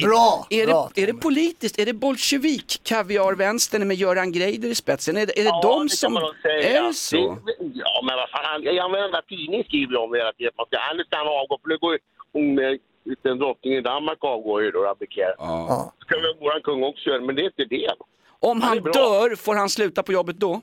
Speaker 4: Är, det, är det politiskt? Är det bolsjevik kaviarvänstern med Göran Greider i spetsen? Är det, är det de
Speaker 10: det kan
Speaker 4: som...
Speaker 10: man nog säga.
Speaker 4: Är det så?
Speaker 10: Det- Ja, men vad fan, han- ja, varenda tidning skriver om det hela tiden. Man ska, han ska han avgå, för nu går ju hon, eh, den drottningen i Danmark avgår ju då, abdikerar.
Speaker 4: Ja.
Speaker 10: Ska väl våran kung också göra det, men det är inte det.
Speaker 4: Om han
Speaker 10: är bra.
Speaker 4: dör, får han sluta på jobbet då?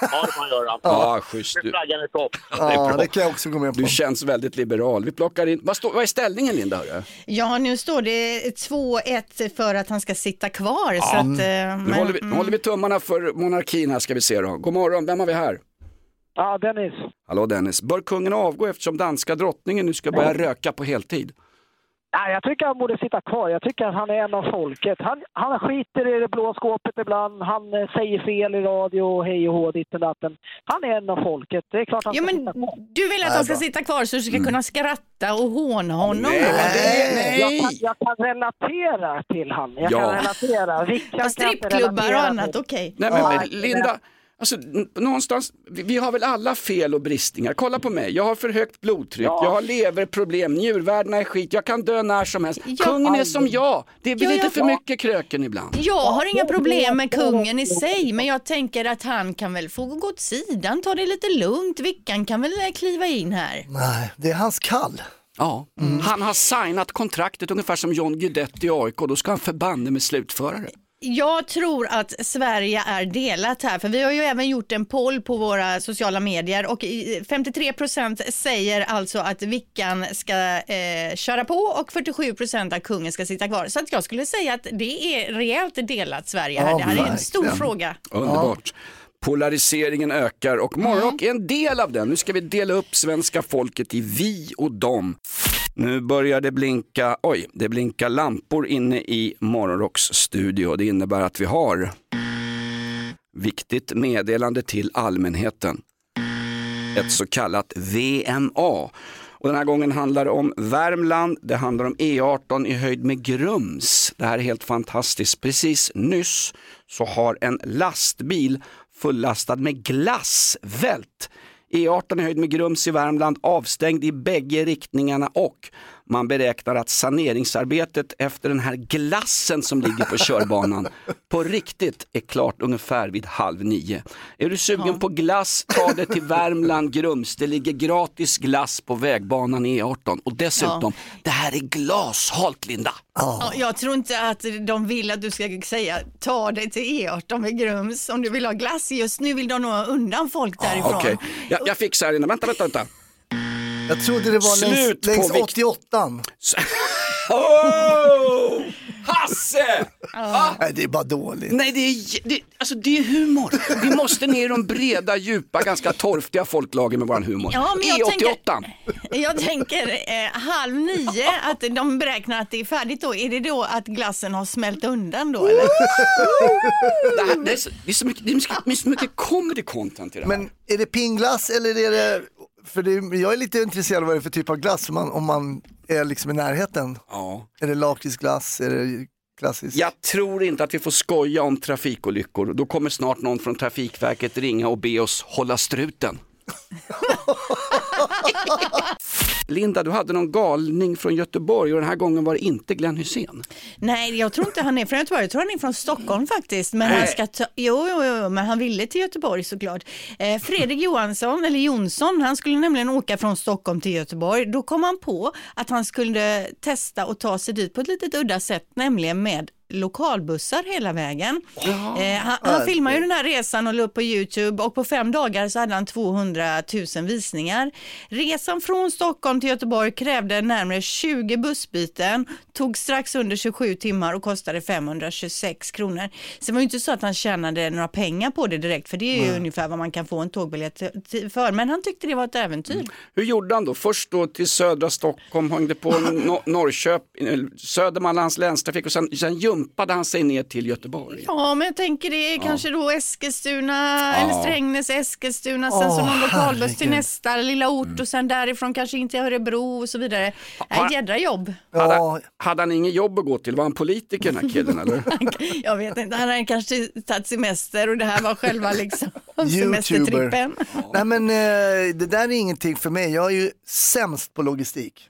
Speaker 10: Ja, det får han göra.
Speaker 4: Ja, schysst.
Speaker 10: Med flaggan i topp.
Speaker 2: Ja, Ah, det kan jag också gå med på.
Speaker 4: Du känns väldigt liberal. Vi plockar in... Vad, står- vad är ställningen Linda? hörru?
Speaker 5: Ja, nu står det 2-1 för att han ska sitta kvar. Så att, eh, men,
Speaker 4: Mm. Nu håller vi, håller vi tummarna för monarkin här ska vi se då. God morgon, vem har vi här?
Speaker 11: Ja, Dennis.
Speaker 4: Hallå Dennis, bör kungen avgå eftersom danska drottningen nu ska börja röka på heltid?
Speaker 11: Nej, jag tycker han borde sitta kvar. Jag tycker att han är en av folket. Han, han skiter i det blå skåpet ibland. Han eh, säger fel i radio och hej och hå, ditt och datten. Han är en av folket. Det är klart han
Speaker 5: Jo,
Speaker 11: ska
Speaker 5: men
Speaker 11: sitta kvar.
Speaker 5: Du vill att han ska sitta kvar så du ska
Speaker 4: Mm.
Speaker 5: kunna skratta och håna honom.
Speaker 11: Nej,
Speaker 5: eller?
Speaker 11: Jag, kan, jag kan relatera till han. Jag
Speaker 4: Ja.
Speaker 11: kan relatera. Rickard kan
Speaker 5: Och
Speaker 11: inte
Speaker 5: strippklubbar och
Speaker 11: relatera
Speaker 5: annat,
Speaker 11: till.
Speaker 5: okej.
Speaker 4: Nej men
Speaker 11: Ja.
Speaker 4: Linda, alltså, n- någonstans, vi, vi har väl alla fel och bristningar. Kolla på mig, jag har för högt blodtryck,
Speaker 11: Ja.
Speaker 4: jag har leverproblem, njurvärdena är skit, jag kan dö när som helst.
Speaker 5: Ja.
Speaker 4: Kungen är som jag, det blir
Speaker 5: Ja,
Speaker 4: lite
Speaker 5: ja.
Speaker 4: för mycket kröken ibland.
Speaker 5: Jag har inga problem med kungen i sig, men jag tänker att han kan väl få gå åt sidan, ta det lite lugnt. Vickan kan väl eh, kliva in här.
Speaker 2: Nej, det är hans kall.
Speaker 4: Ja, han har signat kontraktet ungefär som John Guidetti i AIK, då ska han förbanne med slutförare.
Speaker 5: Jag tror att Sverige är delat här, för vi har ju även gjort en poll på våra sociala medier och i- 53 procent säger alltså att Vickan ska eh, köra på och 47 procent att kungen ska sitta kvar. Så att jag skulle säga att det är rejält delat Sverige här.
Speaker 4: Ja,
Speaker 5: det här är en stor
Speaker 4: verkligen.
Speaker 5: fråga.
Speaker 4: Underbart. Polariseringen ökar och morgonrock är en del av den. Nu ska vi dela upp svenska folket i vi och dem. Nu börjar det blinka, oj, det blinkar lampor inne i morgonrocks studio. Det innebär att vi har viktigt meddelande till allmänheten. Ett så kallat VMA. Och den här gången handlar det om Värmland, det handlar om E18 i höjd med Grums. Det här är helt fantastiskt. Precis nyss så har en lastbil fullastad med glass vält. E18 i höjd med Grums i Värmland, avstängd i bägge riktningarna och man beräknar att saneringsarbetet efter den här glassen som ligger på körbanan på riktigt är klart ungefär vid halv nio. Är du sugen på glass, ta det till Värmland, Grums. Det ligger gratis glass på vägbanan i E18 och dessutom, det här är glashalt Linda.
Speaker 5: Ja, Jag tror inte att de vill att du ska säga ta dig till E18 vid Grums om du vill ha glass. Just nu vill de nog ha undan folk därifrån.
Speaker 4: Okej, jag, jag fixar det. Vänta, vänta, vänta.
Speaker 2: Jag trodde det var
Speaker 4: Slut
Speaker 2: längs,
Speaker 4: på
Speaker 2: längs
Speaker 4: vikt-
Speaker 2: 88an.
Speaker 4: Oh! Hasse! Ah!
Speaker 2: Nej, det är bara dåligt.
Speaker 4: Nej, det är, det, alltså, det är humor. Vi måste ner i de breda, djupa, ganska torftiga folklagen med vår humor. E
Speaker 5: Ja, men jag tänker-
Speaker 4: E88.
Speaker 5: Jag tänker eh, halv nio, att de beräknar att det är färdigt då. Är det då att glassen har smält undan då eller?
Speaker 4: Det, här, det, är så, det, är så mycket, det, är mycket, det är så mycket comedy content i det här.
Speaker 2: Men är det pingglass eller är det, för det, jag är lite intresserad av vad det är för typ av glass om man, om man är liksom i närheten.
Speaker 4: Ja.
Speaker 2: Är det lakritsglass, är det klassiskt?
Speaker 4: Jag tror inte att vi får skoja om trafikolyckor. Då kommer snart någon från Trafikverket ringa och be oss hålla struten. Linda, du hade någon galning från Göteborg och den här gången var det inte Glenn Hysén.
Speaker 5: Nej, jag tror inte han är från Göteborg. Jag tror han är från Stockholm faktiskt. Men han,
Speaker 4: Nej.
Speaker 5: ska ta... jo, jo, jo, men han ville till Göteborg såklart. Eh, Fredrik Johansson, eller Jonsson, han skulle nämligen åka från Stockholm till Göteborg. Då kom han på att han skulle testa och ta sig dit på ett litet udda sätt, nämligen med lokalbussar hela vägen. Eh, han, han filmade ju den här resan och la upp på Youtube och på fem dagar så hade han 200 000 visningar. Resan från Stockholm till Göteborg krävde närmare 20 bussbyten, tog strax under 27 timmar och kostade 526 kronor. Sen var det ju inte så att han tjänade några pengar på det direkt, för det är ju
Speaker 4: Nej.
Speaker 5: ungefär vad man kan få en tågbiljett till- för. Men han tyckte det var ett äventyr.
Speaker 4: Hur gjorde han då? Först då till södra Stockholm, hängde på no- Norrköping, eller Södermanlands länstrafik och sen, sen jumpade han sig ner till Göteborg.
Speaker 5: Ja, men jag tänker det är
Speaker 4: Ja.
Speaker 5: kanske då Eskilstuna
Speaker 4: Ja.
Speaker 5: eller Strängnäs, Eskilstuna, sen
Speaker 4: Åh,
Speaker 5: så någon lokalbuss till
Speaker 4: herregud.
Speaker 5: nästa lilla ort och sen därifrån kanske in till Örebro och så vidare. Nej,
Speaker 4: har-
Speaker 5: jädra jobb.
Speaker 4: Hade, hade han inget jobb att gå till? Var han politiker den här killen eller?
Speaker 5: Jag vet inte, han hade kanske tagit semester och det här var själva liksom semestertrippen.
Speaker 2: Nej men eh, det där är ingenting för mig, jag är ju sämst på logistik.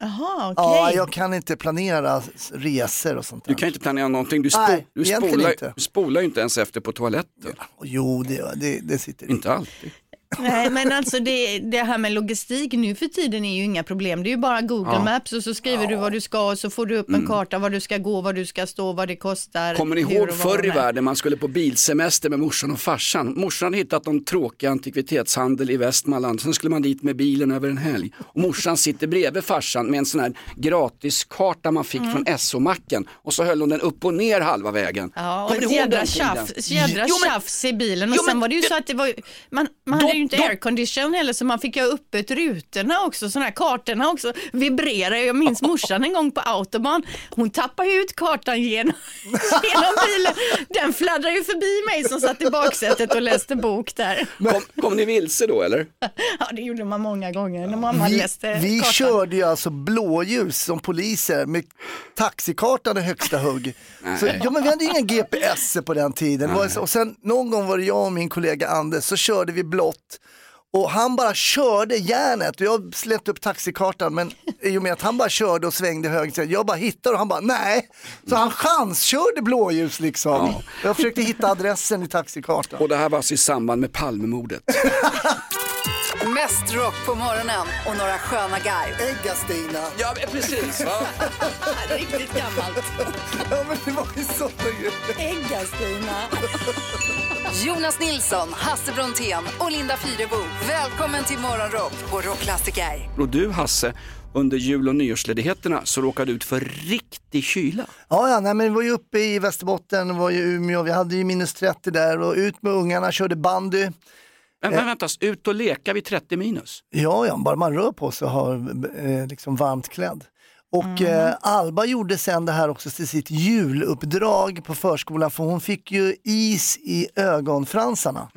Speaker 5: Jaha,
Speaker 2: Ja,
Speaker 5: okej.
Speaker 2: jag kan inte planera s- resor och sånt där.
Speaker 4: Du kan ju inte planera någonting, du, spo-
Speaker 2: Nej,
Speaker 4: du
Speaker 2: egentligen
Speaker 4: spolar,
Speaker 2: inte.
Speaker 4: du spolar ju inte ens efter på toaletten.
Speaker 2: Jo, det, det, det sitter
Speaker 4: Inte alltid.
Speaker 5: Nej, men alltså det, det här med logistik nu för tiden är ju inga problem. Det är ju bara Google
Speaker 4: Ja.
Speaker 5: Maps och så skriver du vad du ska och så får du upp en
Speaker 4: Mm.
Speaker 5: karta var du ska gå, vad du ska stå, vad det kostar.
Speaker 4: Kommer ni
Speaker 5: hur
Speaker 4: ihåg
Speaker 5: och vad
Speaker 4: förr i
Speaker 5: de är.
Speaker 4: världen man skulle på bilsemester med morsan och farsan? Morsan hade hittat någon tråkig antikvitetshandel i Västmanland, sen skulle man dit med bilen över en helg. Och morsan sitter bredvid farsan med en sån här gratiskarta man fick
Speaker 5: Mm.
Speaker 4: från SO-macken och så höll hon den upp och ner halva vägen.
Speaker 5: Ja, och
Speaker 4: Kommer
Speaker 5: ett
Speaker 4: ni ihåg
Speaker 5: jädra
Speaker 4: den tiden?
Speaker 5: tjafs, jädra
Speaker 4: Jo, men-
Speaker 5: tjafs i bilen. Och
Speaker 4: Jo, men
Speaker 5: sen var det ju
Speaker 4: det-
Speaker 5: så att det var ju, man, man hade ju inte aircondition heller så man fick ju ha öppet rutorna också, sådana här kartorna också vibrerade. Jag minns morsan en gång på autobahn, hon tappade ju ut kartan genom, genom bilen. Den fladdrade ju förbi mig som satt i baksätet och läste bok där.
Speaker 4: Kom, kom ni vilse då eller?
Speaker 5: Ja, det gjorde man många gånger när mamma
Speaker 2: vi
Speaker 5: läste
Speaker 2: vi
Speaker 5: kartan.
Speaker 2: körde ju alltså blåljus som poliser med taxikartan i högsta hugg. så,
Speaker 4: Nej.
Speaker 2: ja, men vi hade ingen GPS på den tiden. Det var så- Och sen någon gång var det jag och min kollega Anders så körde vi blått och han bara körde järnet och jag släppte upp taxikartan men i och med att han bara körde och svängde höger så jag bara hittade och han bara nej. Så han chanskörde blåljus liksom. Jag försökte hitta adressen i taxikartan.
Speaker 4: Och det här var alltså i samband med Palmemordet.
Speaker 1: Mest rock på morgonen och några sköna guide.
Speaker 2: Äggastina.
Speaker 4: Ja, precis. Va?
Speaker 5: Riktigt gammalt.
Speaker 2: ja, men det var ju sådana grejer.
Speaker 5: Äggastina.
Speaker 1: Jonas Nilsson, Hasse Brontén och Linda Fyrebo. Välkommen till Morgonrock på Rockklassiker.
Speaker 4: Och du Hasse, under jul och nyårsledigheterna så råkade du ut för riktig kyla.
Speaker 2: Ja, ja nej, men vi var ju uppe i Västerbotten, var ju i Umeå, vi hade ju minus 30 där och ut med ungarna, körde bandy.
Speaker 4: Men,
Speaker 5: Eh.
Speaker 4: men vänta, ut och leka vid 30 minus?
Speaker 2: Ja, ja, bara man rör på sig och har eh, liksom varmt klädd. Och eh, Alba gjorde sen det här också till sitt juluppdrag på förskolan för hon fick ju is i ögonfransarna.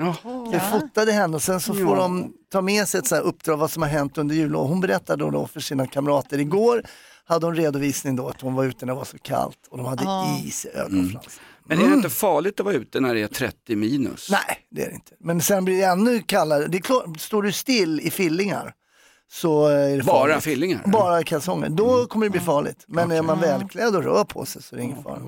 Speaker 2: Jag fotade henne och sen så får de ta med sig ett så här uppdrag vad som har hänt under jul och hon berättade då, då för sina kamrater igår hade hon redovisning då att hon var ute när det var så kallt och de hade
Speaker 4: Ja.
Speaker 2: is i ögonfransarna.
Speaker 4: Men är det inte farligt att vara ute när det är 30 minus?
Speaker 2: Nej, det är det inte. Men sen blir det ännu kallare. Det är klart, står du still i fillingar så är det
Speaker 4: Bara
Speaker 2: farligt.
Speaker 4: fillingar?
Speaker 2: Bara kalsonger. Då kommer det bli farligt. Men är man välklädd och rör på sig så är det ingen fara.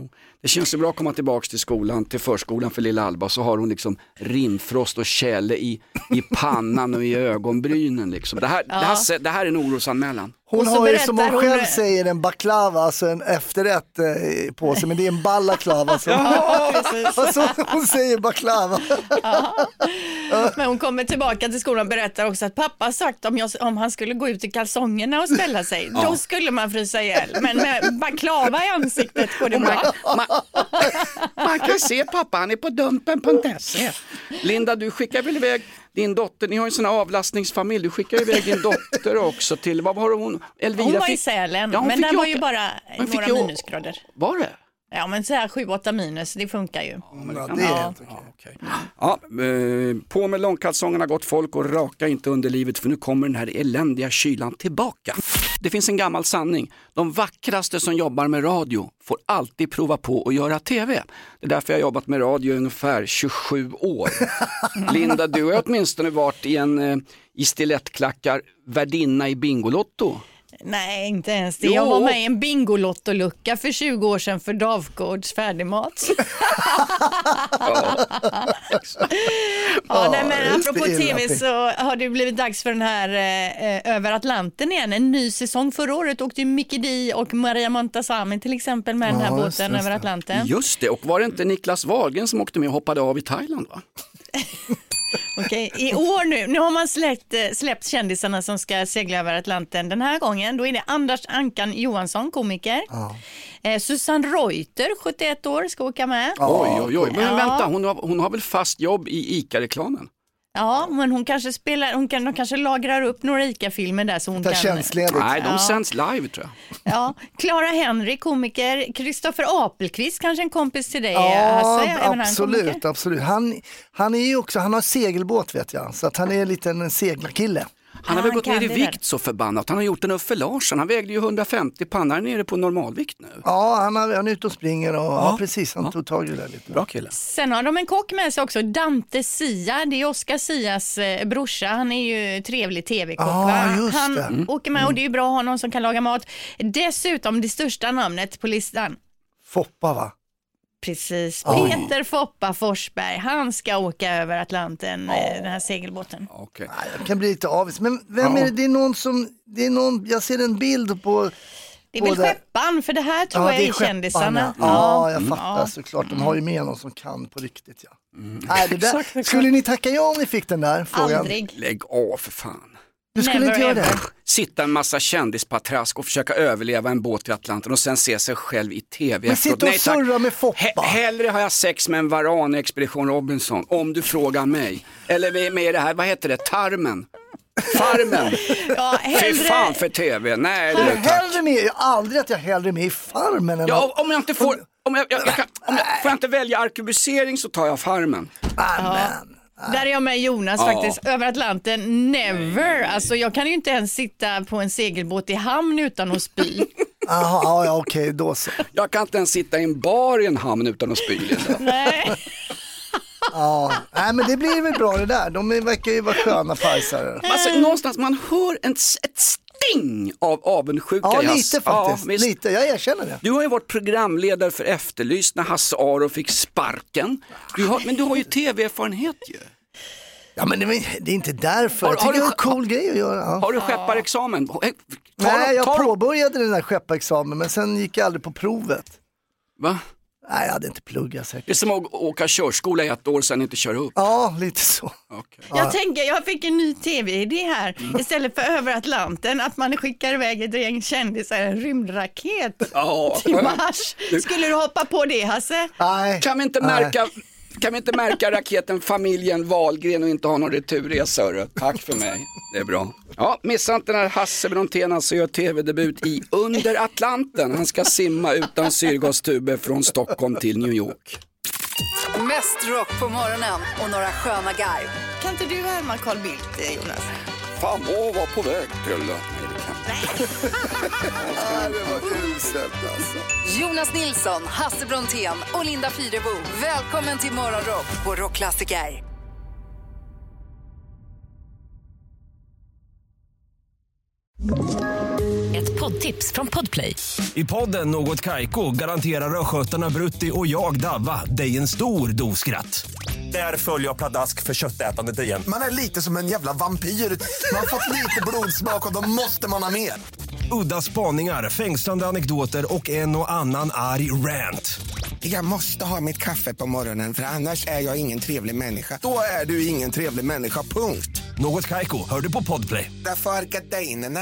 Speaker 4: Det känns så bra att komma tillbaks till skolan, till förskolan för lilla Alba, så har hon liksom rimfrost och tjäle i, i pannan och i ögonbrynen. Liksom. Det, här, det, här, se- det här är en orosanmälan.
Speaker 2: Hon har ju som hon själv säger en baklava, alltså en efterrätt eh, på sig, men det är en balaklava. Alltså.
Speaker 5: Ja, precis.
Speaker 2: alltså, hon säger baklava.
Speaker 5: Men hon kommer tillbaka till skolan och berättar också att pappa har sagt om, jag, om han skulle gå ut i kalsongerna och ställa sig,
Speaker 4: Ja.
Speaker 5: då skulle man frysa ihjäl. Men med baklava i ansiktet går det
Speaker 4: "Ah."
Speaker 5: bra.
Speaker 4: Man kan se pappa, han är på dumpen.se. E. Linda, du skickar väl iväg din dotter, ni har ju en sån här avlastningsfamilj, du skickar iväg din dotter också till, vad var hon, Elvira?
Speaker 5: Hon var i
Speaker 4: fick-
Speaker 5: Sälen,
Speaker 4: Ja, hon
Speaker 5: men
Speaker 4: fick
Speaker 5: där var
Speaker 4: åka-
Speaker 5: ju bara
Speaker 4: hon fick
Speaker 5: några
Speaker 4: ju å-
Speaker 5: minusgrader.
Speaker 4: Var det?
Speaker 5: Ja, men så här 7-8 minus, det funkar ju.
Speaker 4: det är helt Ja, eh, på med långkalsongerna gott folk och raka inte underlivet för nu kommer den här eländiga kylan tillbaka. Det finns en gammal sanning. De vackraste som jobbar med radio får alltid prova på att göra TV. Det är därför jag har jobbat med radio i ungefär 27 år. Linda, du har åtminstone varit i, en, eh, i stilettklackar värdinna i Bingolotto.
Speaker 5: Nej, inte ens det.
Speaker 4: Jo.
Speaker 5: Jag var med i en Bingolottolucka för 20 år sedan för Dafgårds färdigmat. Ja, nej, men apropå tv så har det blivit dags för den här eh, eh, Över Atlanten igen. En ny säsong. Förra året åkte ju Mickey D och Maria Montazami till exempel med den här
Speaker 4: Ja,
Speaker 5: båten
Speaker 4: just det, just
Speaker 5: Över
Speaker 4: det.
Speaker 5: Atlanten.
Speaker 4: Just det, och var det inte Niklas Wahlgren som åkte med och hoppade av i Thailand? va?
Speaker 5: Okej, i år nu, nu har man släppt, eh, släppt kändisarna som ska segla över Atlanten. Den här gången, då är det Anders Ankan Johansson, komiker. Eh, Susanne Reuter, 71 år, ska åka med.
Speaker 4: Oj, oj, oj. Men
Speaker 5: Ja.
Speaker 4: vänta, hon har, hon har väl fast jobb i ICA-reklamen?
Speaker 5: Ja, men hon kanske spelar, hon kan, de kanske lagrar upp några ICA-filmer där så hon kan...
Speaker 4: Nej, de
Speaker 5: Ja.
Speaker 4: sänds live tror jag.
Speaker 5: Ja, Clara Henry, komiker. Kristoffer Apelqvist, kanske en kompis till dig? eh, Hasse,
Speaker 2: Ja,
Speaker 5: även alltså, han komiker.
Speaker 2: absolut. absolut. Han, han, är ju också, han har segelbåt vet jag, så att han är en liten seglarkille.
Speaker 4: Han har väl gått ner i
Speaker 2: det
Speaker 4: vikt så förbannat. Han har gjort en Uffe Larsson. Han vägde ju 150 pannan är nere på normalvikt nu.
Speaker 2: Ja, han, har, han är ute och springer och ja, precis, han tog tag i det där lite.
Speaker 4: Bra kille.
Speaker 5: Sen har de en kock med sig också, Dante Sia. Det är Oscar Sias eh, brorsa. Han är ju trevlig tv-kock.
Speaker 2: Ah,
Speaker 5: va?
Speaker 2: just
Speaker 5: han
Speaker 2: det. Mm.
Speaker 5: åker med och det är ju bra att ha någon som kan laga mat. Dessutom det största namnet på listan.
Speaker 2: Foppa va?
Speaker 5: Precis,
Speaker 2: Oj.
Speaker 5: Peter Foppa Forsberg. Han ska åka över Atlanten, eh, den här segelbåten.
Speaker 2: Nej, jag kan bli lite avis. Men vem är det? Det är någon som, det är någon, jag ser en bild på...
Speaker 5: Det är väl
Speaker 2: på där.
Speaker 5: Skeppan, för det här tror
Speaker 2: Ja,
Speaker 5: jag
Speaker 2: det
Speaker 5: är
Speaker 2: skepparna.
Speaker 5: kändisarna.
Speaker 2: Ja, jag
Speaker 5: Mm.
Speaker 2: fattar
Speaker 5: Ja.
Speaker 2: såklart. De har ju med någon som kan på riktigt. Ja. Nej, det där, skulle ni tacka ja om ni fick den där frågan?
Speaker 5: Aldrig.
Speaker 4: Lägg av för fan.
Speaker 2: Du skulle
Speaker 5: Never
Speaker 2: inte göra
Speaker 5: ever.
Speaker 2: det?
Speaker 4: Sitta en massa kändispatrask och försöka överleva en båt i Atlanten och sen se sig själv i tv
Speaker 2: Men
Speaker 4: efteråt.
Speaker 2: sitta och
Speaker 4: Nej, tack.
Speaker 2: surra med Foppa.
Speaker 4: He- hellre har jag sex med en varan i Expedition Robinson, om du frågar mig. Eller med- med det här, vad heter det, tarmen? Farmen!
Speaker 5: Ja,
Speaker 4: Fy
Speaker 5: hellre-
Speaker 4: fan för tv, nej
Speaker 2: Jag är
Speaker 4: du.
Speaker 2: hellre med, jag är aldrig att jag är hellre med i Farmen än
Speaker 4: Ja, om jag inte får, om jag, jag, jag kan, om jag, får jag inte välja arkebusering så tar jag Farmen.
Speaker 5: Där är jag med Jonas
Speaker 4: Ja.
Speaker 5: faktiskt. Över Atlanten, never. Alltså jag kan ju inte ens sitta på en segelbåt i hamn utan att spy.
Speaker 2: Jaha, ja, ja, okej, då så.
Speaker 4: Jag kan inte ens sitta i en bar i en hamn utan att spy. liksom.
Speaker 5: Nej.
Speaker 2: Ja, nej men det blir väl bra det där. De är- verkar ju vara sköna pajsare.
Speaker 4: Alltså, någonstans man hör en, s- ett sting av avundsjuka
Speaker 2: Ja,
Speaker 4: i Hasse.
Speaker 2: lite faktiskt.
Speaker 4: visst.
Speaker 2: lite, jag erkänner det.
Speaker 4: Du har ju varit programledare för Efterlyst när Hasse Aro fick sparken. Du har, men du har ju tv-erfarenhet ju.
Speaker 2: Ja, men det, är- det är inte därför.
Speaker 4: Har-
Speaker 2: jag tycker
Speaker 4: har
Speaker 2: det
Speaker 4: du-
Speaker 2: är en cool grej att göra. Ja.
Speaker 4: Har du skepparexamen? Ta,
Speaker 2: Nej, jag
Speaker 4: ta,
Speaker 2: påbörjade den där skepparexamen men sen gick jag aldrig på provet.
Speaker 4: Va?
Speaker 2: Nej, jag hade inte pluggat säkert.
Speaker 4: Det är som att åka körskola i ett år sen inte köra upp.
Speaker 2: Ja, lite så.
Speaker 4: Okej.
Speaker 5: Jag tänker, jag fick en ny tv-idé här. Istället för över Atlanten, att man skickar iväg ett gäng kändisar i en rymdraket
Speaker 4: Ja.
Speaker 5: till Mars. Skulle du hoppa på det Hasse?
Speaker 2: Nej.
Speaker 4: Kan vi inte märka, kan vi inte märka raketen familjen Wahlgren och inte ha någon returresa hörru? Tack för mig. Det är bra. Ja, missa inte när Hasse Brontén alltså gör tv-debut i Under Atlanten. Han ska simma utan syrgastuber från Stockholm till New York.
Speaker 1: Mest rock på morgonen och några sköna garv.
Speaker 5: Kan inte du härma Carl Bildt, eh, Jonas?
Speaker 4: Fan, åh, var på väg till...
Speaker 1: Jonas Nilsson, Hasse Brontén och Linda Fyrebo. Välkommen till Morgonrock på Rockklassiker.
Speaker 6: Ett poddtips från Podplay.
Speaker 12: I podden Något Kaiko garanterar östgötarna Brutti och jag, Davva, dig en stor dos skratt. Där följer jag pladask för köttätandet igen.
Speaker 13: Man är lite som en jävla vampyr. Man har fått lite blodsmak och då måste man ha mer.
Speaker 12: Udda spaningar, fängslande anekdoter och en och annan arg rant.
Speaker 13: Jag måste ha mitt kaffe på morgonen för annars är jag ingen trevlig människa. Då är du ingen trevlig människa, punkt.
Speaker 12: Något Kaiko, hör du på Podplay.
Speaker 13: Därför arkadeinerna.